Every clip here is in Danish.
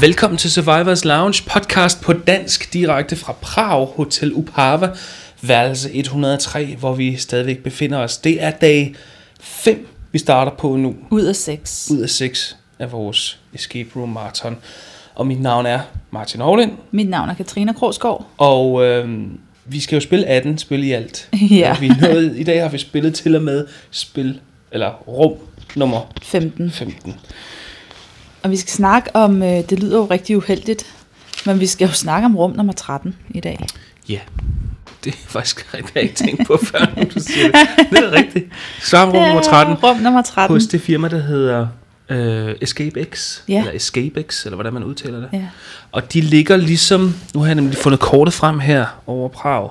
velkommen til Survivors Lounge podcast på dansk direkte fra Prag, Hotel Upava, værelse 103, hvor vi stadigvæk befinder os. Det er dag 5, vi starter på nu, Ud af seks. ud af 6 af vores Escape Room Marathon. Og mit navn er Martin Hovlind, Mit navn er Katrine Krogsgaard. og øh, vi skal jo spille 18 spil i alt. Ja. Og Vi er nået, I dag har vi spillet til og med spil, eller rum nummer 15. 15. Og vi skal snakke om, øh, det lyder jo rigtig uheldigt, men vi skal jo snakke om rum nummer 13 i dag. Ja, det er faktisk rigtigt, jeg har ikke tænkt på før, nu du siger det. Det er rigtigt. Svarmrum nummer 13 Ja, Rum nummer 13. hos det firma, der hedder øh, Escape X, Ja. eller Escape X, eller hvordan man udtaler det. Ja. Og de ligger ligesom, nu har jeg nemlig fundet kortet frem her over Prag.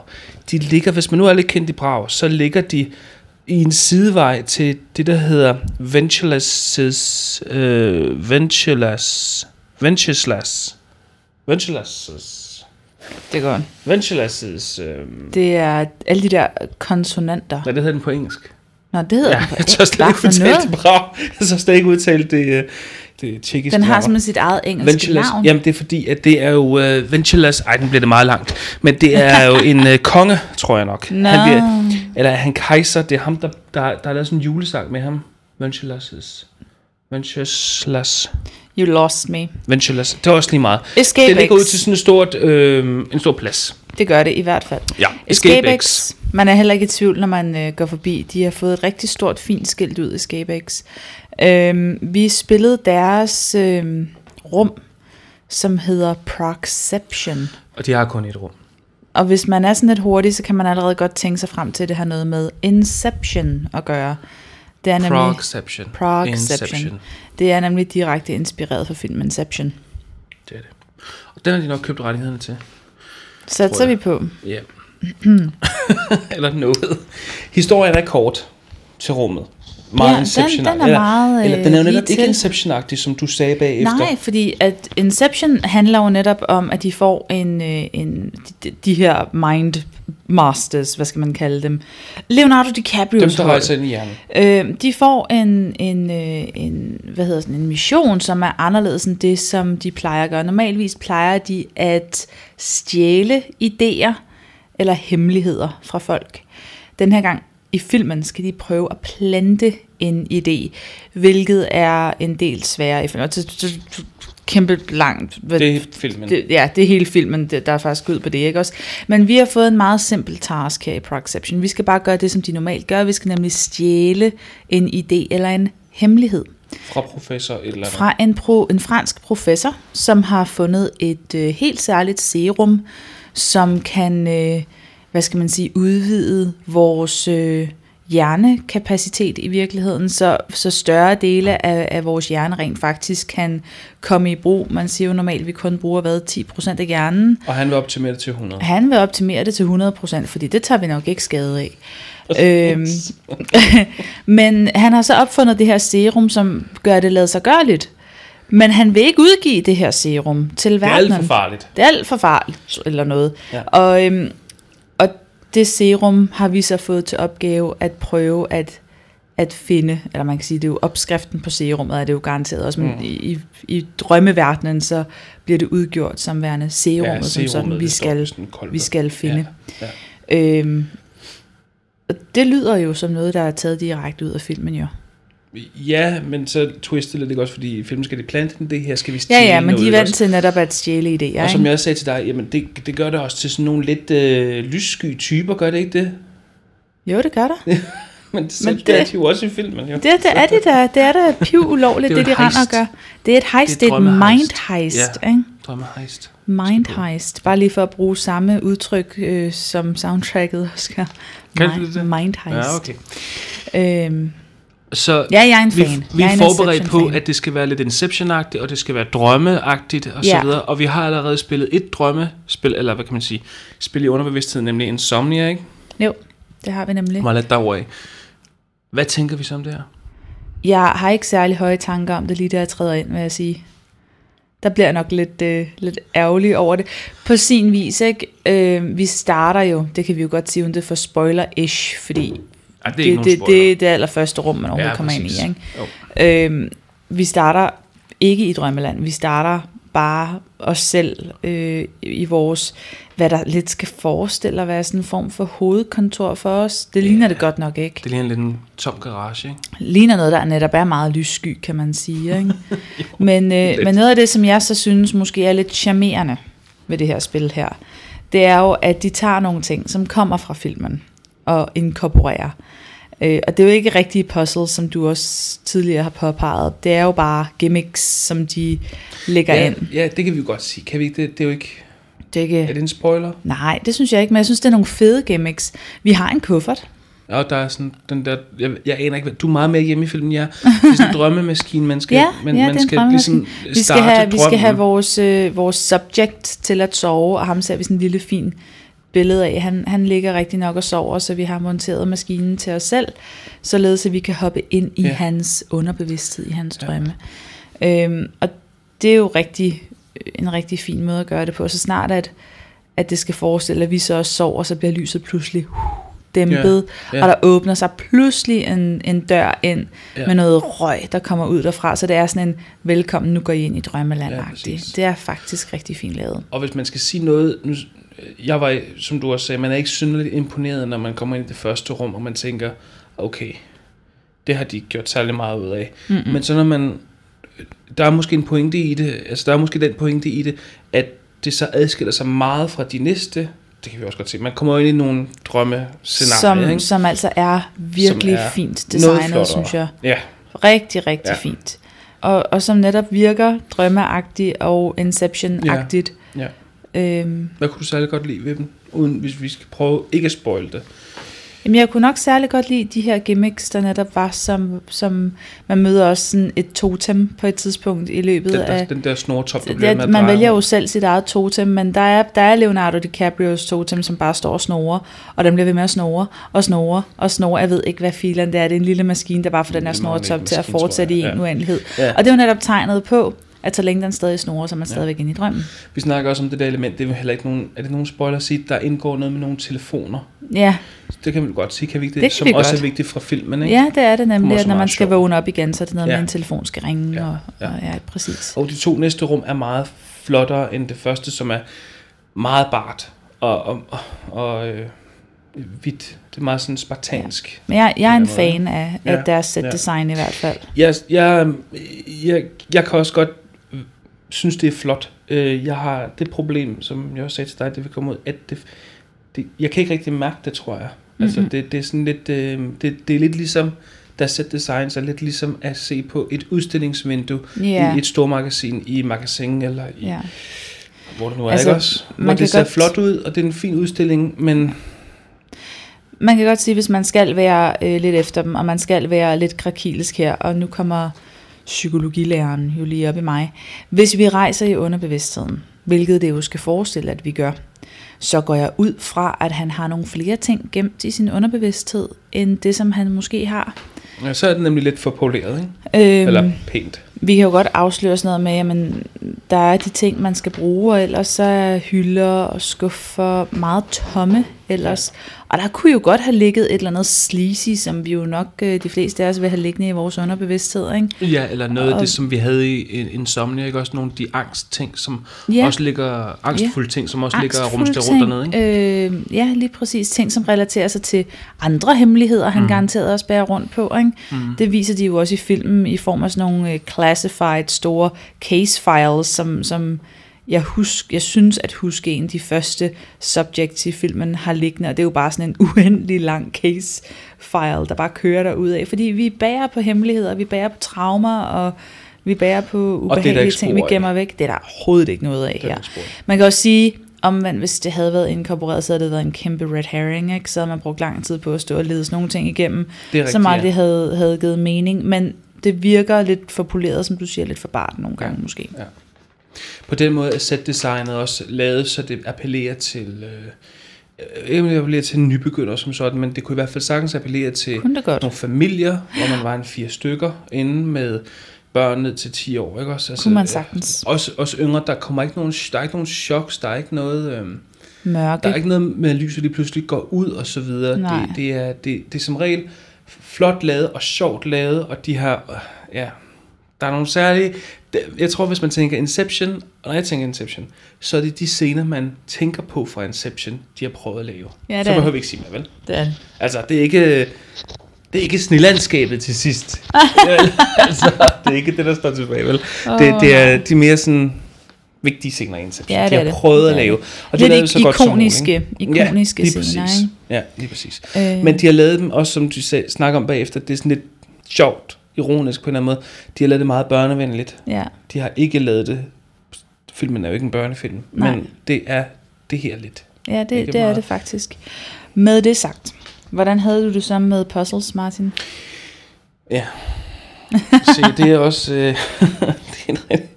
De ligger, hvis man nu er lidt kendt i Prag, så ligger de i en sidevej til det, der hedder Ventulas, øh, Ventulas, Ventulas, Ventulas, Det er godt. Ventulas, øh, Det er alle de der konsonanter. Nej, det hedder den på engelsk. Nå, det hedder Ja, den på jeg tør slet Hvad ikke for udtale noget? det brav. Jeg tør slet ikke udtale det, øh, det tjekkiske Den har navn. simpelthen sit eget engelske Ventulas, navn. jamen det er fordi, at det er jo øh, Ventulas, ej den bliver det meget langt, men det er jo en øh, konge, tror jeg nok. Nå. Han bliver, eller er han kejser, det er ham, der, der, der er lavet sådan en julesang med ham. Ventulas, Ventulas, You lost me. Ventulas, det er også lige meget. Escape det ligger X. ud til sådan en, stort, øh, en stor plads. Det gør det i hvert fald. Ja, Escape X. Man er heller ikke i tvivl, når man øh, går forbi. De har fået et rigtig stort, fint skilt ud, Escape X. Øhm, vi spillede deres øhm, rum, som hedder Proxception. Og de har kun et rum. Og hvis man er sådan lidt hurtig, så kan man allerede godt tænke sig frem til, at det har noget med Inception at gøre. Det er nemlig, Progception. Proxception. Inception. det er nemlig direkte inspireret fra filmen Inception. Det er det. Og den har de nok købt rettighederne til. Satser vi på. Ja. Eller noget. Historien er kort til rummet. Meget Ja, den- inception den er meget, eller, øh, eller, den er jo lige netop ikke til. inception som du sagde bagefter. Nej, fordi at Inception handler jo netop om, at de får en, øh, en de, de her mind masters, hvad skal man kalde dem. Leonardo DiCaprio. Dem, der rejser ind i hjernen. øh, de får en, en, øh, en, hvad hedder sådan, en mission, som er anderledes end det, som de plejer at gøre. Normalvis plejer de at stjæle idéer eller hemmeligheder fra folk. Den her gang i filmen skal de prøve at plante en idé, hvilket er en del sværere. i filmen. Og det- det- det- Kæmpe langt. hvad- Det er filmen. det, ja, det er hele filmen, det, der er faktisk ud på det, ikke også? Men vi har fået en meget simpel task her i Proxception. Vi skal bare gøre det, som de normalt gør. Vi skal nemlig stjæle en idé eller en hemmelighed Fra professor et eller andet. fra en, pro, en fransk professor, som har fundet et øh, helt særligt serum, som kan, øh, hvad skal man sige, udvide vores øh, hjernekapacitet i virkeligheden, så, så større dele af, af vores hjerne rent faktisk kan komme i brug. Man siger jo normalt, at vi kun bruger hvad, 10% af hjernen. Og han vil optimere det til 100. Han vil optimere det til 100%, fordi det tager vi nok ikke skade af. øhm, men han har så opfundet det her serum, som gør det lade sig gørligt. Men han vil ikke udgive det her serum til Det er verdenen. alt for farligt. Det er alt for farligt, eller noget. Ja. Og, øhm, og det serum har vi så fået til opgave at prøve at, at finde, eller man kan sige, det er jo opskriften på serummet, er det jo garanteret også, men mm. i, i drømmeverdenen, så bliver det udgjort som værende serummet, ja, som sådan, serummet, vi det står på skal, sådan en kolbe. vi skal finde. Ja, ja. Ja. Øhm, og det lyder jo som noget, der er taget direkte ud af filmen, jo. Ja, men så twistet lidt, ikke også? Fordi i filmen skal de plante den, det her skal vi Ja, stjæle ja, men noget, de er ikke også? vant til netop at stjæle idéer, ikke? Og som jeg også sagde til dig, jamen det, det gør det også til sådan nogle lidt øh, lyssky typer, gør det ikke det? Jo, det gør der. Men det, men det, det- det er de jo også i filmen, jo. Det, det er det der. Det er da piv ulovligt, Det er jo det, det de et render og heist. gør. Det er et heist, det er et drømmehejst. mind heist. Ja. Ja. Ikke? Drømmehejst. Mind heist. Bare lige for at bruge samme udtryk, øh, som soundtracket også gør. Kan Mind- du det? Mind heist. Ja, okay. øhm, Så ja, jeg er en vi, fan. vi jeg er en forberedt på, Inception-fan. at det skal være lidt Inception-agtigt, og det skal være drømmeagtigt og så Ja. videre. Og vi har allerede spillet et drømmespil, eller hvad kan man sige, spil i underbevidstheden, nemlig Insomnia, ikke? Jo, det har vi nemlig. Meget let derovre Hvad tænker vi så om det her? Jeg har ikke særlig høje tanker om det, lige der jeg træder ind, vil jeg sige. Der bliver jeg nok lidt, øh, lidt ærgerlig over det. På sin vis, ikke? Øh, vi starter jo, det kan vi jo godt sige, uden det er for spoiler-ish, fordi Ej, det er ikke det, nogen det, spoiler. det er det allerførste rum, man overhovedet ja, kommer ind i. præcis. Ikke? Jo. Øhm, vi starter ikke i drømmeland, vi starter bare os selv øh, i vores, hvad der lidt skal forestille at være sådan en form for hovedkontor for os. Det ligner det godt nok ikke. Det ligner lidt en tom garage, ikke? ligner noget, der netop er meget lyssky, kan man sige. Ikke? men, øh, men noget af det, som jeg så synes måske er lidt charmerende ved det her spil her, det er jo, at de tager nogle ting, som kommer fra filmen og inkorporerer. Øh, og det er jo ikke rigtige puzzles, som du også tidligere har påpeget. Det er jo bare gimmicks, som de lægger ja. Ja, ind. ja, det kan vi jo godt sige. Kan vi ikke? Det, det er jo ikke... Det er Er ikke, det en spoiler? nej, det synes jeg ikke, men jeg synes, det er nogle fede gimmicks. Vi har en kuffert. Ja, der er sådan den der... Jeg, jeg aner ikke, hvad... Du er meget mere hjemme i filmen, jeg er. Det er sådan en drømmemaskine, man skal... Ja, man, ja, det man er en skal drømmemaskine. ligesom vi skal starte have, vi skal drømmen. have vores, øh, vores subject til at sove, og ham ser vi sådan en lille fin billede af. Han, han ligger rigtig nok og sover, så vi har monteret maskinen til os selv, således at vi kan hoppe ind i Ja. ja. hans underbevidsthed, i hans drømme. Øhm, og det er jo rigtig, øh, en rigtig fin måde at gøre det på. Så snart at, at det skal forestille, at vi så også sover, så bliver lyset pludselig uh, dæmpet, Ja, ja, ja. ja. og der åbner sig pludselig en, en dør ind Ja. ja. med noget røg, der kommer ud derfra. Så det er sådan en, velkommen, nu går I ind i drømmeland Ja, ja, præcis. Det er faktisk rigtig fint lavet. Og hvis man skal sige noget, nu, jeg var, som du også sagde, man er ikke synderligt imponeret, når man kommer ind i det første rum, og man tænker, okay, det har de ikke gjort særlig meget ud af. Mm-hmm. Men så når man, der er måske en pointe i det, altså der er måske den pointe i det, at det så adskiller sig meget fra de næste, det kan vi også godt se, man kommer jo ind i nogle drømmescenarier, Som, ikke? som altså er virkelig Som er fint Noget designet, flottere. synes jeg. Ja, Rigtig, rigtig Ja. ja. fint. Og, og som netop virker drømmeagtigt og Inception-agtigt. ja. Ja. Øhm, Hvad kunne du særlig godt lide ved dem, uden, hvis vi skal prøve ikke at spoil det? Jamen, jeg kunne nok særlig godt lide de her gimmicks, der netop var, som, som man møder også sådan et totem på et tidspunkt i løbet Den af... der, den der snortop, der bliver Ja, med at man dreje vælger jo rundt. selv sit eget totem, men der er, der er Leonardo DiCaprios totem, som bare står og snorer, og den bliver ved med at snore, og snore, og snore. Jeg ved ikke, hvad filen det er. Det er en lille maskine, der bare får den her Det er meget snoretop lidt til at maskine, tror fortsætte i jeg. en Ja. uendelighed. Ja. Og det er jo netop tegnet på, at så længe den stadig snorer, så er man stadigvæk inde i drømmen. Vi snakker også om det der element, det er vel heller ikke nogen, er det nogen spoiler at sige, der indgår noget med nogle telefoner. Ja, Det kan vi godt sige, kan vi ikke det? Det kan Som vi også godt. er vigtigt fra filmen, ikke? ja det er det Det er nemlig, også at når man meget skal sjovt. vågne op igen, så er det noget Ja. med, at en telefon skal ringe, Ja. og, Ja. Oh. og ja, præcis. Og de to næste rum er meget flottere end det første, som er meget bart og, og, og, og øh, hvidt. Det er meget sådan spartansk. Men jeg, jeg er en På den fan af, Ja, af deres ja. set-design i hvert fald. Jeg, jeg, jeg, jeg kan også godt øh, synes, det er flot. Øh, Jeg har det problem, som jeg også sagde til dig, det vil komme ud, at det, det, jeg kan ikke rigtig mærke det, tror jeg. Mhm. Altså, mm-hmm. det, det er sådan lidt, øh, det, det er lidt ligesom, der set designs er lidt ligesom at se på et udstillingsvindue Ja. i et stormagasin, i et magasin eller i, Ja. hvor det nu er, Altså, ikke også? man Hvor kan det ser godt- flot ud, og det er en fin udstilling, men Man kan godt sige, hvis man skal være øh, lidt efter dem, og man skal være lidt krakilisk her, og nu kommer psykologilæreren jo lige op i mig. Hvis vi rejser i underbevidstheden, hvilket det jo skal forestille, at vi gør, så går jeg ud fra, at han har nogle flere ting gemt i sin underbevidsthed, end det, som han måske har. ja, så er det nemlig lidt for poleret, ikke? Øhm, Eller pænt. Vi kan jo godt afsløre sådan noget med, jamen, der er de ting, man skal bruge, og ellers så er hylder og skuffer meget tomme ellers. Og der kunne jo godt have ligget et eller andet sleazy, som vi jo nok øh, de fleste af os vil have liggende i vores underbevidsthed, ikke? Ja, eller noget af Og- det, som vi havde i en- Insomnia, ikke? Også nogle af de angstting, som Ja. også ligger, angstfulde ting, som også ligger og rumster rundt Angstfulde dernede, ikke? ting. Øh, ja, lige præcis. Ting, som relaterer sig til andre hemmeligheder, han mm. garanteret også bærer rundt på. Ikke? Mm. Det viser de jo også i filmen i form af sådan nogle øh, classified store case files, som, som jeg, husk, jeg synes at huske en af de første subjects i filmen har liggende, og det er jo bare sådan en uendelig lang case file, der bare kører derud af, fordi vi bærer på hemmeligheder, vi bærer på traumer, og vi bærer på der ikke ubehagelige ting, vi spor af. gemmer væk. Det er der overhovedet ikke noget af er der her. ikke spor af. Man kan også sige, omvendt, hvis det havde været inkorporeret, så havde det været en kæmpe red herring, ikke? så havde man brugt lang tid på at stå og lede sådan nogle ting igennem, Det er rigtigt, som ja. aldrig havde, havde givet mening, men det virker lidt for poleret, som du siger, lidt for bart nogle gange måske. Ja. På den måde er setdesignet også lavet, så det appellerer til... Øh, øh, ikke om det appellerer til nybegynder som sådan, men det kunne i hvert fald sagtens appellere til Kunne det godt. nogle familier, hvor man var en fire stykker, inde med børn ned til 10 år, ikke også? Altså, Kunne man øh, sagtens. Også, også yngre, der kommer ikke nogen, der er ikke nogen choks, der er ikke noget... Øh, Der er Mørke. ikke noget med, at lyset lige pludselig går ud og så videre. Nej. Det, det, er, det, det er som regel flot lavet og sjovt lavet, og de har... øh, Ja, Der er nogle særlige... det- Jeg tror, hvis man tænker Inception, og når jeg tænker Inception, så er det de scener, man tænker på fra Inception, de har prøvet at lave. Ja, det så er behøver det. vi ikke sige mere, vel? Det er det. Altså, det er ikke... Det er ikke snelandskabet til sidst. Vel? altså, det er ikke det, der står tilbage, vel? Oh. Det, det er de mere sådan vigtige scener i Inception. Ja, det de har er det. prøvet at Det er lave. det. Og Lidt lavede vi ik- som muligt, ikoniske- ikke? ikoniske lige scener, præcis. ikke? Ja, lige præcis. Øh. Men de har lavet dem også, som du sagde, snakker om bagefter, det er sådan lidt sjovt, ironisk på en eller anden måde. De har lavet det meget børnevenligt. Ja. De har ikke lavet det... Filmen er jo ikke en børnefilm, Nej. men det er det her lidt. Ja, det, Ikke det, det er meget. det faktisk. Med det sagt, hvordan havde du det så med puzzles, Martin? Ja. Se, det er også... Øh, det, er en, rigtig-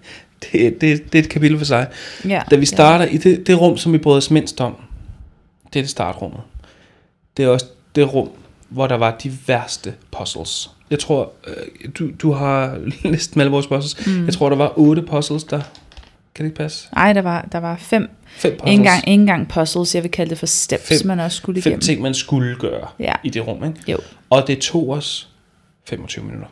det, det, det er et kapitel for sig. Ja, Da vi starter i det, det rum, som vi brød os mindst om, det er det startrummet. Det er også det rum, hvor der var de værste puzzles. Jeg tror, øh, du, du har næsten alle vores puzzles. Mm. Jeg tror, der var otte puzzles der. Kan det ikke passe? Ja. Ej, der var, der var fem. Fem puzzles. Ikke engang, ikke engang puzzles, jeg vil kalde det for steps, Fem- fem, man også skulle Fem igennem. ting, man skulle gøre Ja. i det rum. Ikke? Jo. Og det tog os 25 minutter.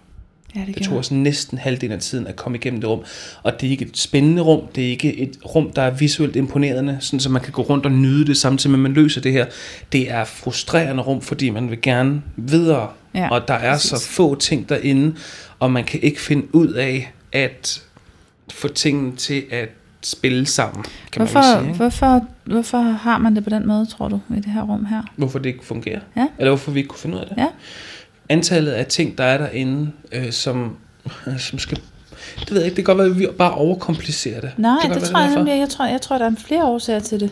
Ja, det, Det gjorde tog os næsten halvdelen af tiden at komme igennem det rum. Og det er ikke et spændende rum, det er ikke et rum, der er visuelt imponerende, sådan så man kan gå rundt og nyde det samtidig med, at man løser det her. Det er frustrerende rum, fordi man vil gerne videre, Ja, og der er præcis. så få ting derinde, og man kan ikke finde ud af at få tingene til at spille sammen, kan hvorfor, man vel sige. Ikke? hvorfor, hvorfor har man det på den måde, tror du, i det her rum her? Hvorfor det ikke fungerer, Ja. eller hvorfor vi ikke kunne finde ud af det. Ja, antallet af ting, der er derinde, øh, som, som skal... Det ved jeg ikke, det kan godt være, at vi bare overkomplicerer det. nej, kan godt det, det være, tror jeg derfor. nemlig, jeg tror, jeg tror, der er flere årsager til det,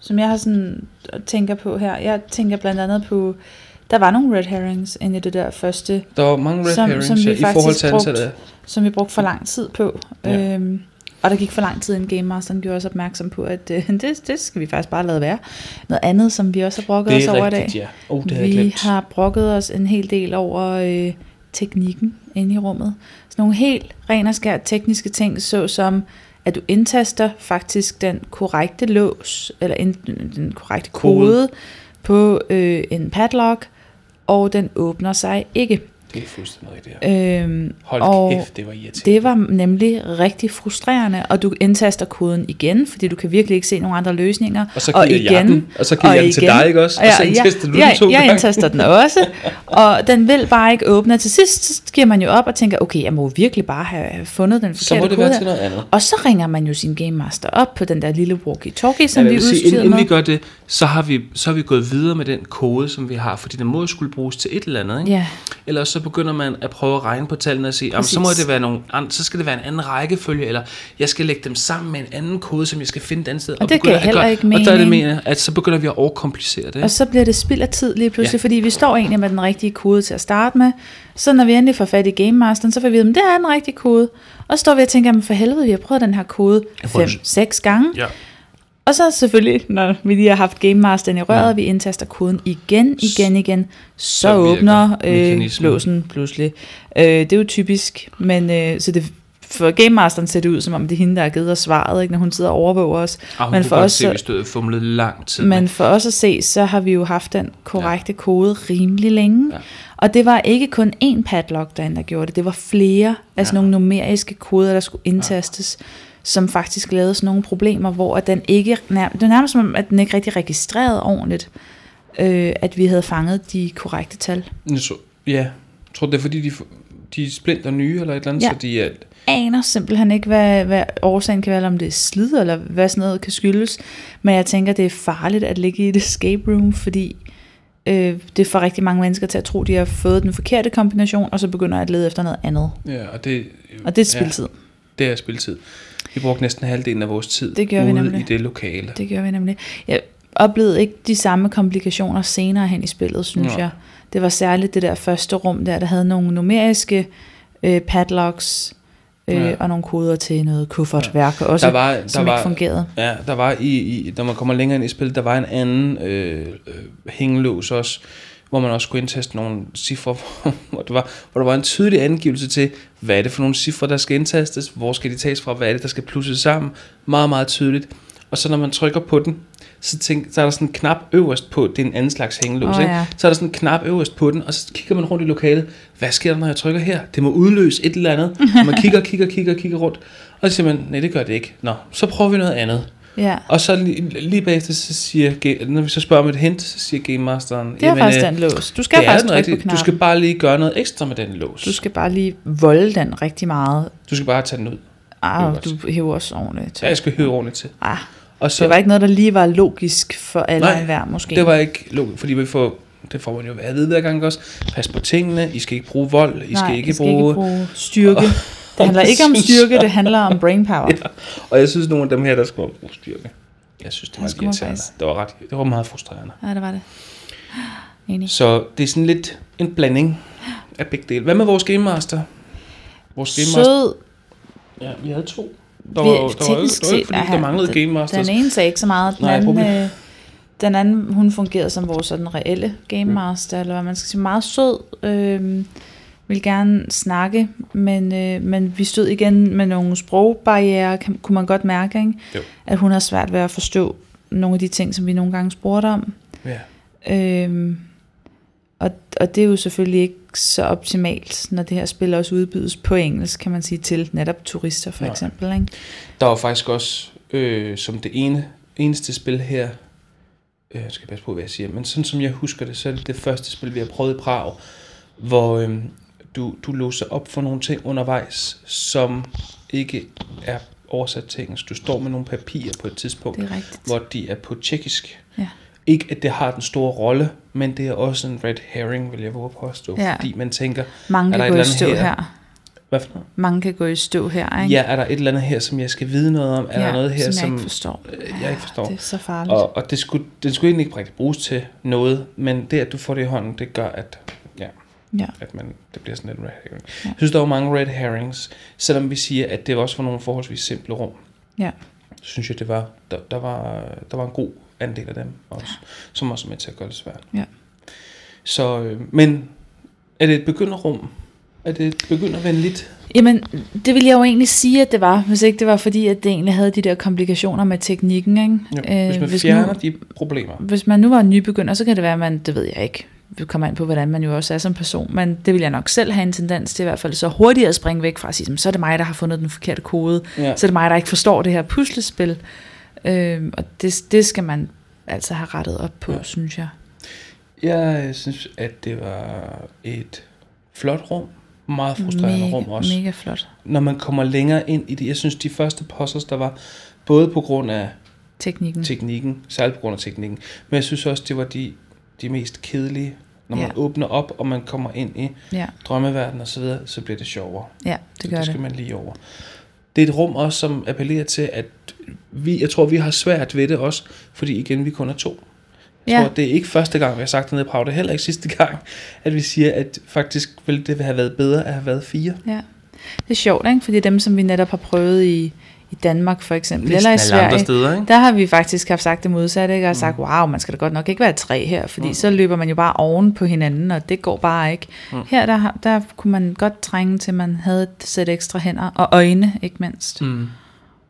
som jeg har sådan øh, tænker på her. Jeg tænker blandt andet på, der var nogle red herrings inde i det der første, Der var mange red som- herrings som vi ja, i forhold faktisk til brugte. antallet af... som vi brugte for lang tid på. Ja. Ja. Øhm, og der gik for lang tid, inden Game Masteren gjorde os opmærksom på, at øh, det, det skal vi faktisk bare lade være. Noget andet, som vi også har brokket Det os er over i dag. rigtigt, ja. Oh, det havde jeg Vi glemt. har brokket os en hel del over øh, teknikken inde i rummet. Sådan nogle helt ren og skær tekniske ting, såsom at du indtaster faktisk den korrekte lås, eller ind, den korrekte Kode. kode, kode på øh, en padlock, og den åbner sig ikke. Det er fuldstændig rigtigt, ja. Øhm, Hold og kæft, det var irriterende. det var nemlig rigtig frustrerende, og du indtaster koden igen, fordi du kan virkelig ikke se nogen andre løsninger. Og så giver jeg den, og så giver jeg den til dig, ikke også? Og så indtaster du den jeg, to jeg gange. indtaster den også, og den vil bare ikke åbne. Og til sidst så giver man jo op og tænker, okay, jeg må virkelig bare have fundet den Så forkerte må det kode være her. til noget andet. Og så ringer man jo sin Game Master op på den der lille walkie-talkie, som Ja, vi jeg vil sige, udstyrede inden, inden med. vi gør det, så har vi, så har vi gået videre med den kode, som vi har, fordi den må jo skulle bruges til et eller andet, ikke? Ja. Ellers så begynder man at prøve at regne på tallene og sige, "Jamen, så må Præcis. det være nogle andre, så skal det være en anden rækkefølge, eller jeg skal lægge dem sammen med en anden kode, som jeg skal finde et andet sted. Og, det begynder giver at gøre- heller ikke Og der er det mening. mere, at så begynder vi at overkomplicere det. Og ikke? så bliver det spild af tid lige pludselig, Ja. ja. fordi vi står egentlig med den rigtige kode til at starte med. Så når vi endelig får fat i Game Masteren, så får vi vide, at det er den rigtige kode. Og så står vi og tænker, "Jamen, for helvede, vi har prøvet den her kode prøver at- 5-6 gange. Ja. Og så selvfølgelig, når vi lige har haft Game Masteren i røret, ja. vi indtaster koden igen, igen, igen, så, så så virker åbner øh, mekanismen. låsen pludselig. Øh, det er jo typisk, men øh, så det, for Game Masteren ser det ud, som om det er hende, der har givet os svaret, ikke, når hun sidder og overvåger os. Og men man for får os, også se, at vi så, stod og fumlede lang tid. men for os at se, så har vi jo haft den korrekte ja. kode rimelig længe. Ja. Ja. Og det var ikke kun én padlock derinde, der gjorde det. Det var flere af sådan nogle numeriske koder, der skulle indtastes, som faktisk lavede sådan nogle problemer, hvor at den ikke, nær, det var nærmest som om, at den ikke rigtig registrerede ordentligt, øh, at vi havde fanget de korrekte tal. Men, så, ja, jeg tror, det er fordi, de, f- de er splinter nye eller et eller andet, Ja. så de er... aner simpelthen ikke, hvad, hvad årsagen kan være, eller om det er slid, eller hvad sådan noget kan skyldes. Men jeg tænker, det er farligt at ligge i et escape room, fordi øh, det får rigtig mange mennesker til at tro, de har fået den forkerte kombination, og så begynder at lede efter noget andet. Ja, og det, Og det er spildtid. Ja, Ja. det er spildtid. Vi brugte næsten halvdelen af vores tid Det gjorde vi ude nemlig. i det lokale. Det gør vi nemlig. Jeg oplevede ikke de samme komplikationer senere hen i spillet, synes Nej. jeg. Det var særligt det der første rum der, der havde nogle numeriske øh, padlocks, øh, Ja. og nogle koder til noget kuffertværk også, Der var- der som var- ikke fungerede. Ja, der var i, i, når man kommer længere ind i spillet, der var en anden øh, øh, hængelås også, hvor man også skulle indtaste nogle cifre, hvor- hvor, der var, hvor der var en tydelig angivelse til, hvad er det for nogle cifre, der skal indtastes, hvor skal de tages fra, hvad er det, der skal plusses sammen, meget, meget tydeligt. Og så når man trykker på den, så, tænk, så er der sådan en knap øverst på, det er en anden slags hængelås, Åh, oh, ja. ja. ikke? så er der sådan en knap øverst på den, og så kigger man rundt i lokalet, hvad sker der, når jeg trykker her? Det må udløse et eller andet, og man kigger, kigger, kigger, kigger rundt, og så siger man, nej det gør det ikke, nå, så prøver vi noget andet. Ja. Og så lige, lige bagefter, så siger, ga- når vi så spørger om et hint, så siger Game Masteren, Det er faktisk øh, den lås. Du skal det er faktisk den trykke på rigtige. Du knappen. skal bare lige gøre noget ekstra med den lås. du skal bare lige volde den rigtig meget. Du skal bare tage den ud. Ah, Øverst. du hæver også ordentligt Ja, til. jeg skal høre ordentligt til. Ah, Og det var ikke noget, der lige var logisk for alle Nej, og enhver, måske. Det var ikke logisk, fordi vi får, det får man jo at vide hver gang også. Pas på tingene, I skal ikke bruge vold, I skal, Nej, ikke, I skal bruge... ikke bruge styrke. Det handler og ikke om præcis. styrke, det handler om brainpower. Ja. Og jeg synes, nogle af dem her, der skulle bruge styrke. Jeg synes, det Der var lidt skulle man irriterende. faktisk- Det var, ret, det var meget frustrerende. Ja, det var det. Enig. Så det er sådan lidt en blanding af begge dele. Hvad med vores Game Master? Vores Game Master? Sød, Ja, vi havde to. Der var, der var, jo- der var, jo ikke- der var jo ikke, fordi Aha, der manglede den- Game Masters. Den ene sagde ikke så meget, den, Nej, anden, problem. øh, den anden, hun fungerede som vores sådan reelle Mm. game master, eller hvad man skal sige, meget sød, øh, ville gerne snakke, men, øh, men vi stod igen med nogle sprogbarriere, kan, kunne man godt mærke, ikke? Jo. at hun har svært ved at forstå nogle af de ting, som vi nogle gange spurgte om. Ja. Øhm, og, og det er jo selvfølgelig ikke så optimalt, når det her spil også udbydes på engelsk, kan man sige, til netop turister for Nej. eksempel. Ikke? Der var faktisk også, øh, som det ene, eneste spil her, øh, jeg skal passe på, hvad jeg siger, men sådan som jeg husker det, så er det det første spil, vi har prøvet i Prag, hvor øh, du, du låser op for nogle ting undervejs, som ikke er oversat til engelsk. Du står med nogle papirer på et tidspunkt, Det er rigtigt. hvor de er på tjekkisk. Ja. Ikke at det har den store rolle, men det er også en red herring, vil jeg våge at påstå, Ja. fordi man tænker, Mange Er der kan et gå i eller andet stå her? her. hvad for noget? Mange kan gå i stå her, ikke? Ja, er der et eller andet her, som jeg skal vide noget om? Er der noget her, som, jeg som, ikke forstår. øh, jeg ikke forstår? Det er så farligt. Og, Og, og det skulle, den skulle egentlig ikke rigtig bruges til noget, men det, at du får det i hånden, det gør, at, ja, ja. at man, det bliver sådan lidt en red herring. Ja. Jeg synes, der var mange red herrings, selvom vi siger, at det også var nogle forholdsvis simple rum. Ja. Synes jeg, det var, der, der, var, der var en god andel af dem også, som også er med til at gøre det svært. Ja. Så, øh, men er det et begynderrum? Er det et begyndervenligt? Jamen, det ville jeg jo egentlig sige, at det var, hvis ikke det var fordi, at det egentlig havde de der komplikationer med teknikken, Jo, ikke? øh, hvis man hvis, fjerner nu, de problemer. hvis man nu var en nybegynder, så kan det være, at man, det ved jeg ikke, det kommer an på, hvordan man jo også er som person, men det vil jeg nok selv have en tendens til i hvert fald, så hurtigt at springe væk fra at sige, "Jamen, så er det mig, der har fundet den forkerte kode, Ja. så er det mig, der ikke forstår det her puslespil. Øh, og det, det skal man altså have rettet op på, Ja. ja. synes jeg. Jeg øh, synes, at det var et flot rum. Meget frustrerende mega, rum også. Mega flot. Når man kommer længere ind i det. Jeg synes, de første puzzles, der var, både på grund af Teknikken. teknikken, særligt på grund af teknikken, men jeg synes også, det var de, de mest kedelige. Når man Ja. åbner op, og man kommer ind i ja, drømmeverdenen osv., så, videre, så bliver det sjovere. ja, det gør det det. skal man lige over. Det er et rum også, som appellerer til, at vi, jeg tror, vi har svært ved det også, fordi igen, vi kun er to. Jeg Ja. tror, det er ikke første gang, vi har sagt det nede i Prag, det er heller ikke sidste gang, at vi siger, at faktisk ville det have været bedre at have været fire. Ja. Det er sjovt, ikke? Fordi dem, som vi netop har prøvet i, i Danmark for eksempel, eller i Næsten alle andre Sverige, steder, ikke? Mm. der har vi faktisk haft sagt det modsatte, ikke? Og sagt, wow, man skal da godt nok ikke være tre her, fordi så løber man jo bare oven på hinanden, og det går bare ikke. Mm. Her, der, har- der kunne man godt trænge til, at man havde et sæt ekstra hænder, og øjne, ikke mindst. Mm.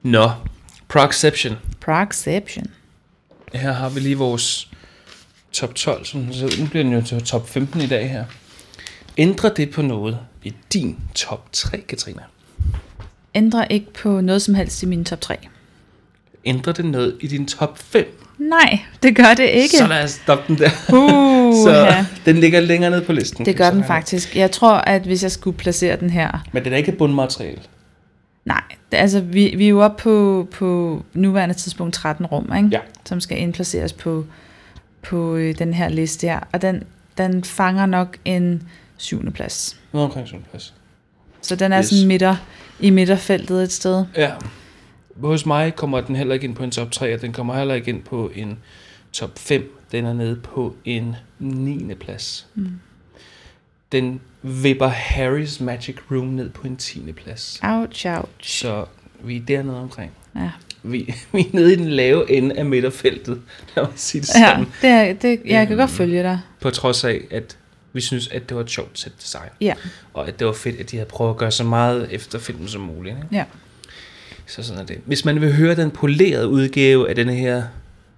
Nå, Progception. Proxception. Her har vi lige vores top 12, som den ser ud. nu bliver den jo til top 15 i dag her. Ændrer det på noget i din top 3, Katrina? Ændrer ikke på noget som helst i mine top 3. Ændrer det noget i din top 5? Nej, det gør det ikke. Så lad os stoppe den der. Uh, Så den ligger længere nede på listen. Det gør Sådan den er faktisk. Jeg tror, at hvis jeg skulle placere den her... Men det er da ikke et bundmateriale. Nej, altså vi, vi er jo oppe på, på nuværende tidspunkt 13 rum, ikke? Ja. som skal indplaceres på, på øh, den her liste her. Og den, den fanger nok en syvende plads. Noget omkring sådan en plads. Så den er Yes. yes. sådan midter, i midterfeltet et sted. Ja. Hos mig kommer den heller ikke ind på en top 3, og den kommer heller ikke ind på en top 5. Den er nede på en 9. plads. Mm. Den vipper Harry's Magic Room ned på en 10. plads. Ouch, ouch. Så vi er dernede omkring. Ja, Vi, vi er nede i den lave ende af midterfeltet. Lad mig sige det sådan. ja Ja. det er, det, jeg kan Øhm. godt følge dig. På trods af, at vi synes, at det var et sjovt sæt design. Ja, Og at det var fedt, at de havde prøvet at gøre så meget efter filmen som muligt. Ikke? ja. Så sådan er det. Hvis man vil høre den polerede udgave af denne her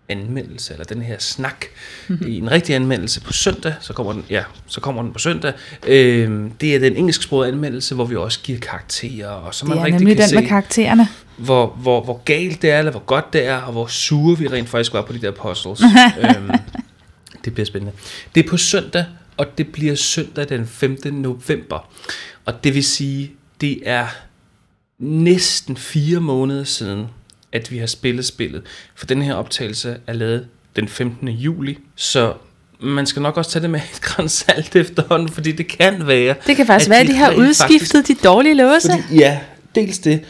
anmeldelse, eller den her snak, Mhm. mm-hmm. i en rigtig anmeldelse på søndag, så kommer den, ja, så kommer den på søndag. Øh, det er den engelsksprogede anmeldelse, hvor vi også giver karakterer, og så man Det er rigtig nemlig kan den se, med karaktererne. hvor, hvor, hvor galt det er, eller hvor godt det er, og hvor sure vi rent faktisk var på de der puzzles. øhm, det bliver spændende. Det er på søndag, og det bliver søndag den 5. november. Og det vil sige, det er næsten fire måneder siden, at vi har spillet spillet. For den her optagelse er lavet den 15. juli, så man skal nok også tage det med et grænsalt efterhånden, fordi det kan være... Det kan faktisk at være, at de har rent faktisk- udskiftet de dårlige låse. fordi, ja, dels det.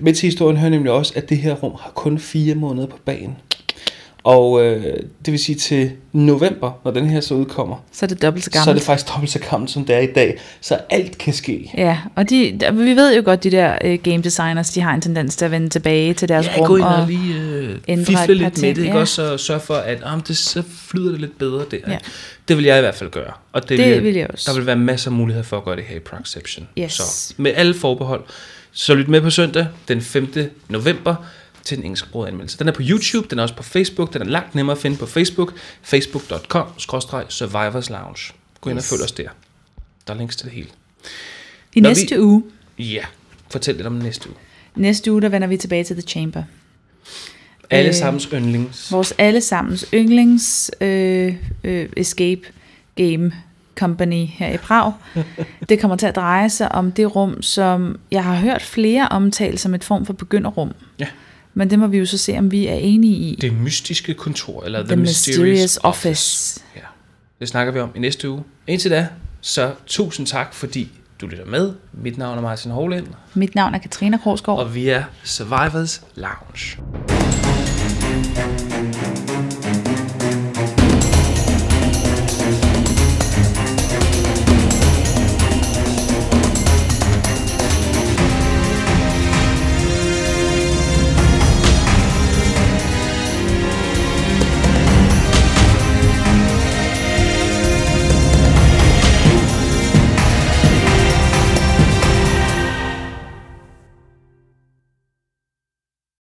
Med til historien hører nemlig også, at det her rum har kun fire måneder på bagen. Og øh, det vil sige til november, når den her så udkommer, Så er det dobbelt så Gammel. så er gammelt. det faktisk dobbelt så gammelt, som det er i dag. Så alt kan ske. Ja, og de, der- vi ved jo godt, de der øh, game designers, de har en tendens til at vende tilbage til deres Ja, rum. gå ind og, og lige øh, ændre et fifle par lidt med ting, det, ikke? ja. også? Og sørge for, at ah, men det, så flyder det lidt bedre der. Ja. Ja. Det vil jeg i hvert fald gøre. Og det, Det vil jeg også. Der vil være masser af muligheder for at gøre det her i Proxception. Yes. Så med alle forbehold. Så lyt med på søndag den 5. november til den engelsksprogede anmeldelse. Den er på YouTube, den er også på Facebook, den er langt nemmere at finde på Facebook. facebook.com-survivors lounge. Gå ind yes. Yes. og følg os der. Der er links til det hele. I Når næste vi- uge, Ja, fortæl lidt om næste uge. næste uge, der vender vi tilbage til The Chamber. Alle Øh, sammens yndlings. Vores allesammens yndlings øh, øh, escape game company her i Prag. Det kommer til at dreje sig om det rum, som jeg har hørt flere omtale som et form for begynderrum. Ja. Men det må vi jo så se, om vi er enige i. Det mystiske kontor, eller The, The Mysterious, Mysterious Office. Office. Ja. Det snakker vi om i næste uge. Indtil da, så tusind tak, fordi du lytter med. Mit navn er Martin Hovland, Mit navn er Katrine Krogsgaard. og vi er Survivors Lounge.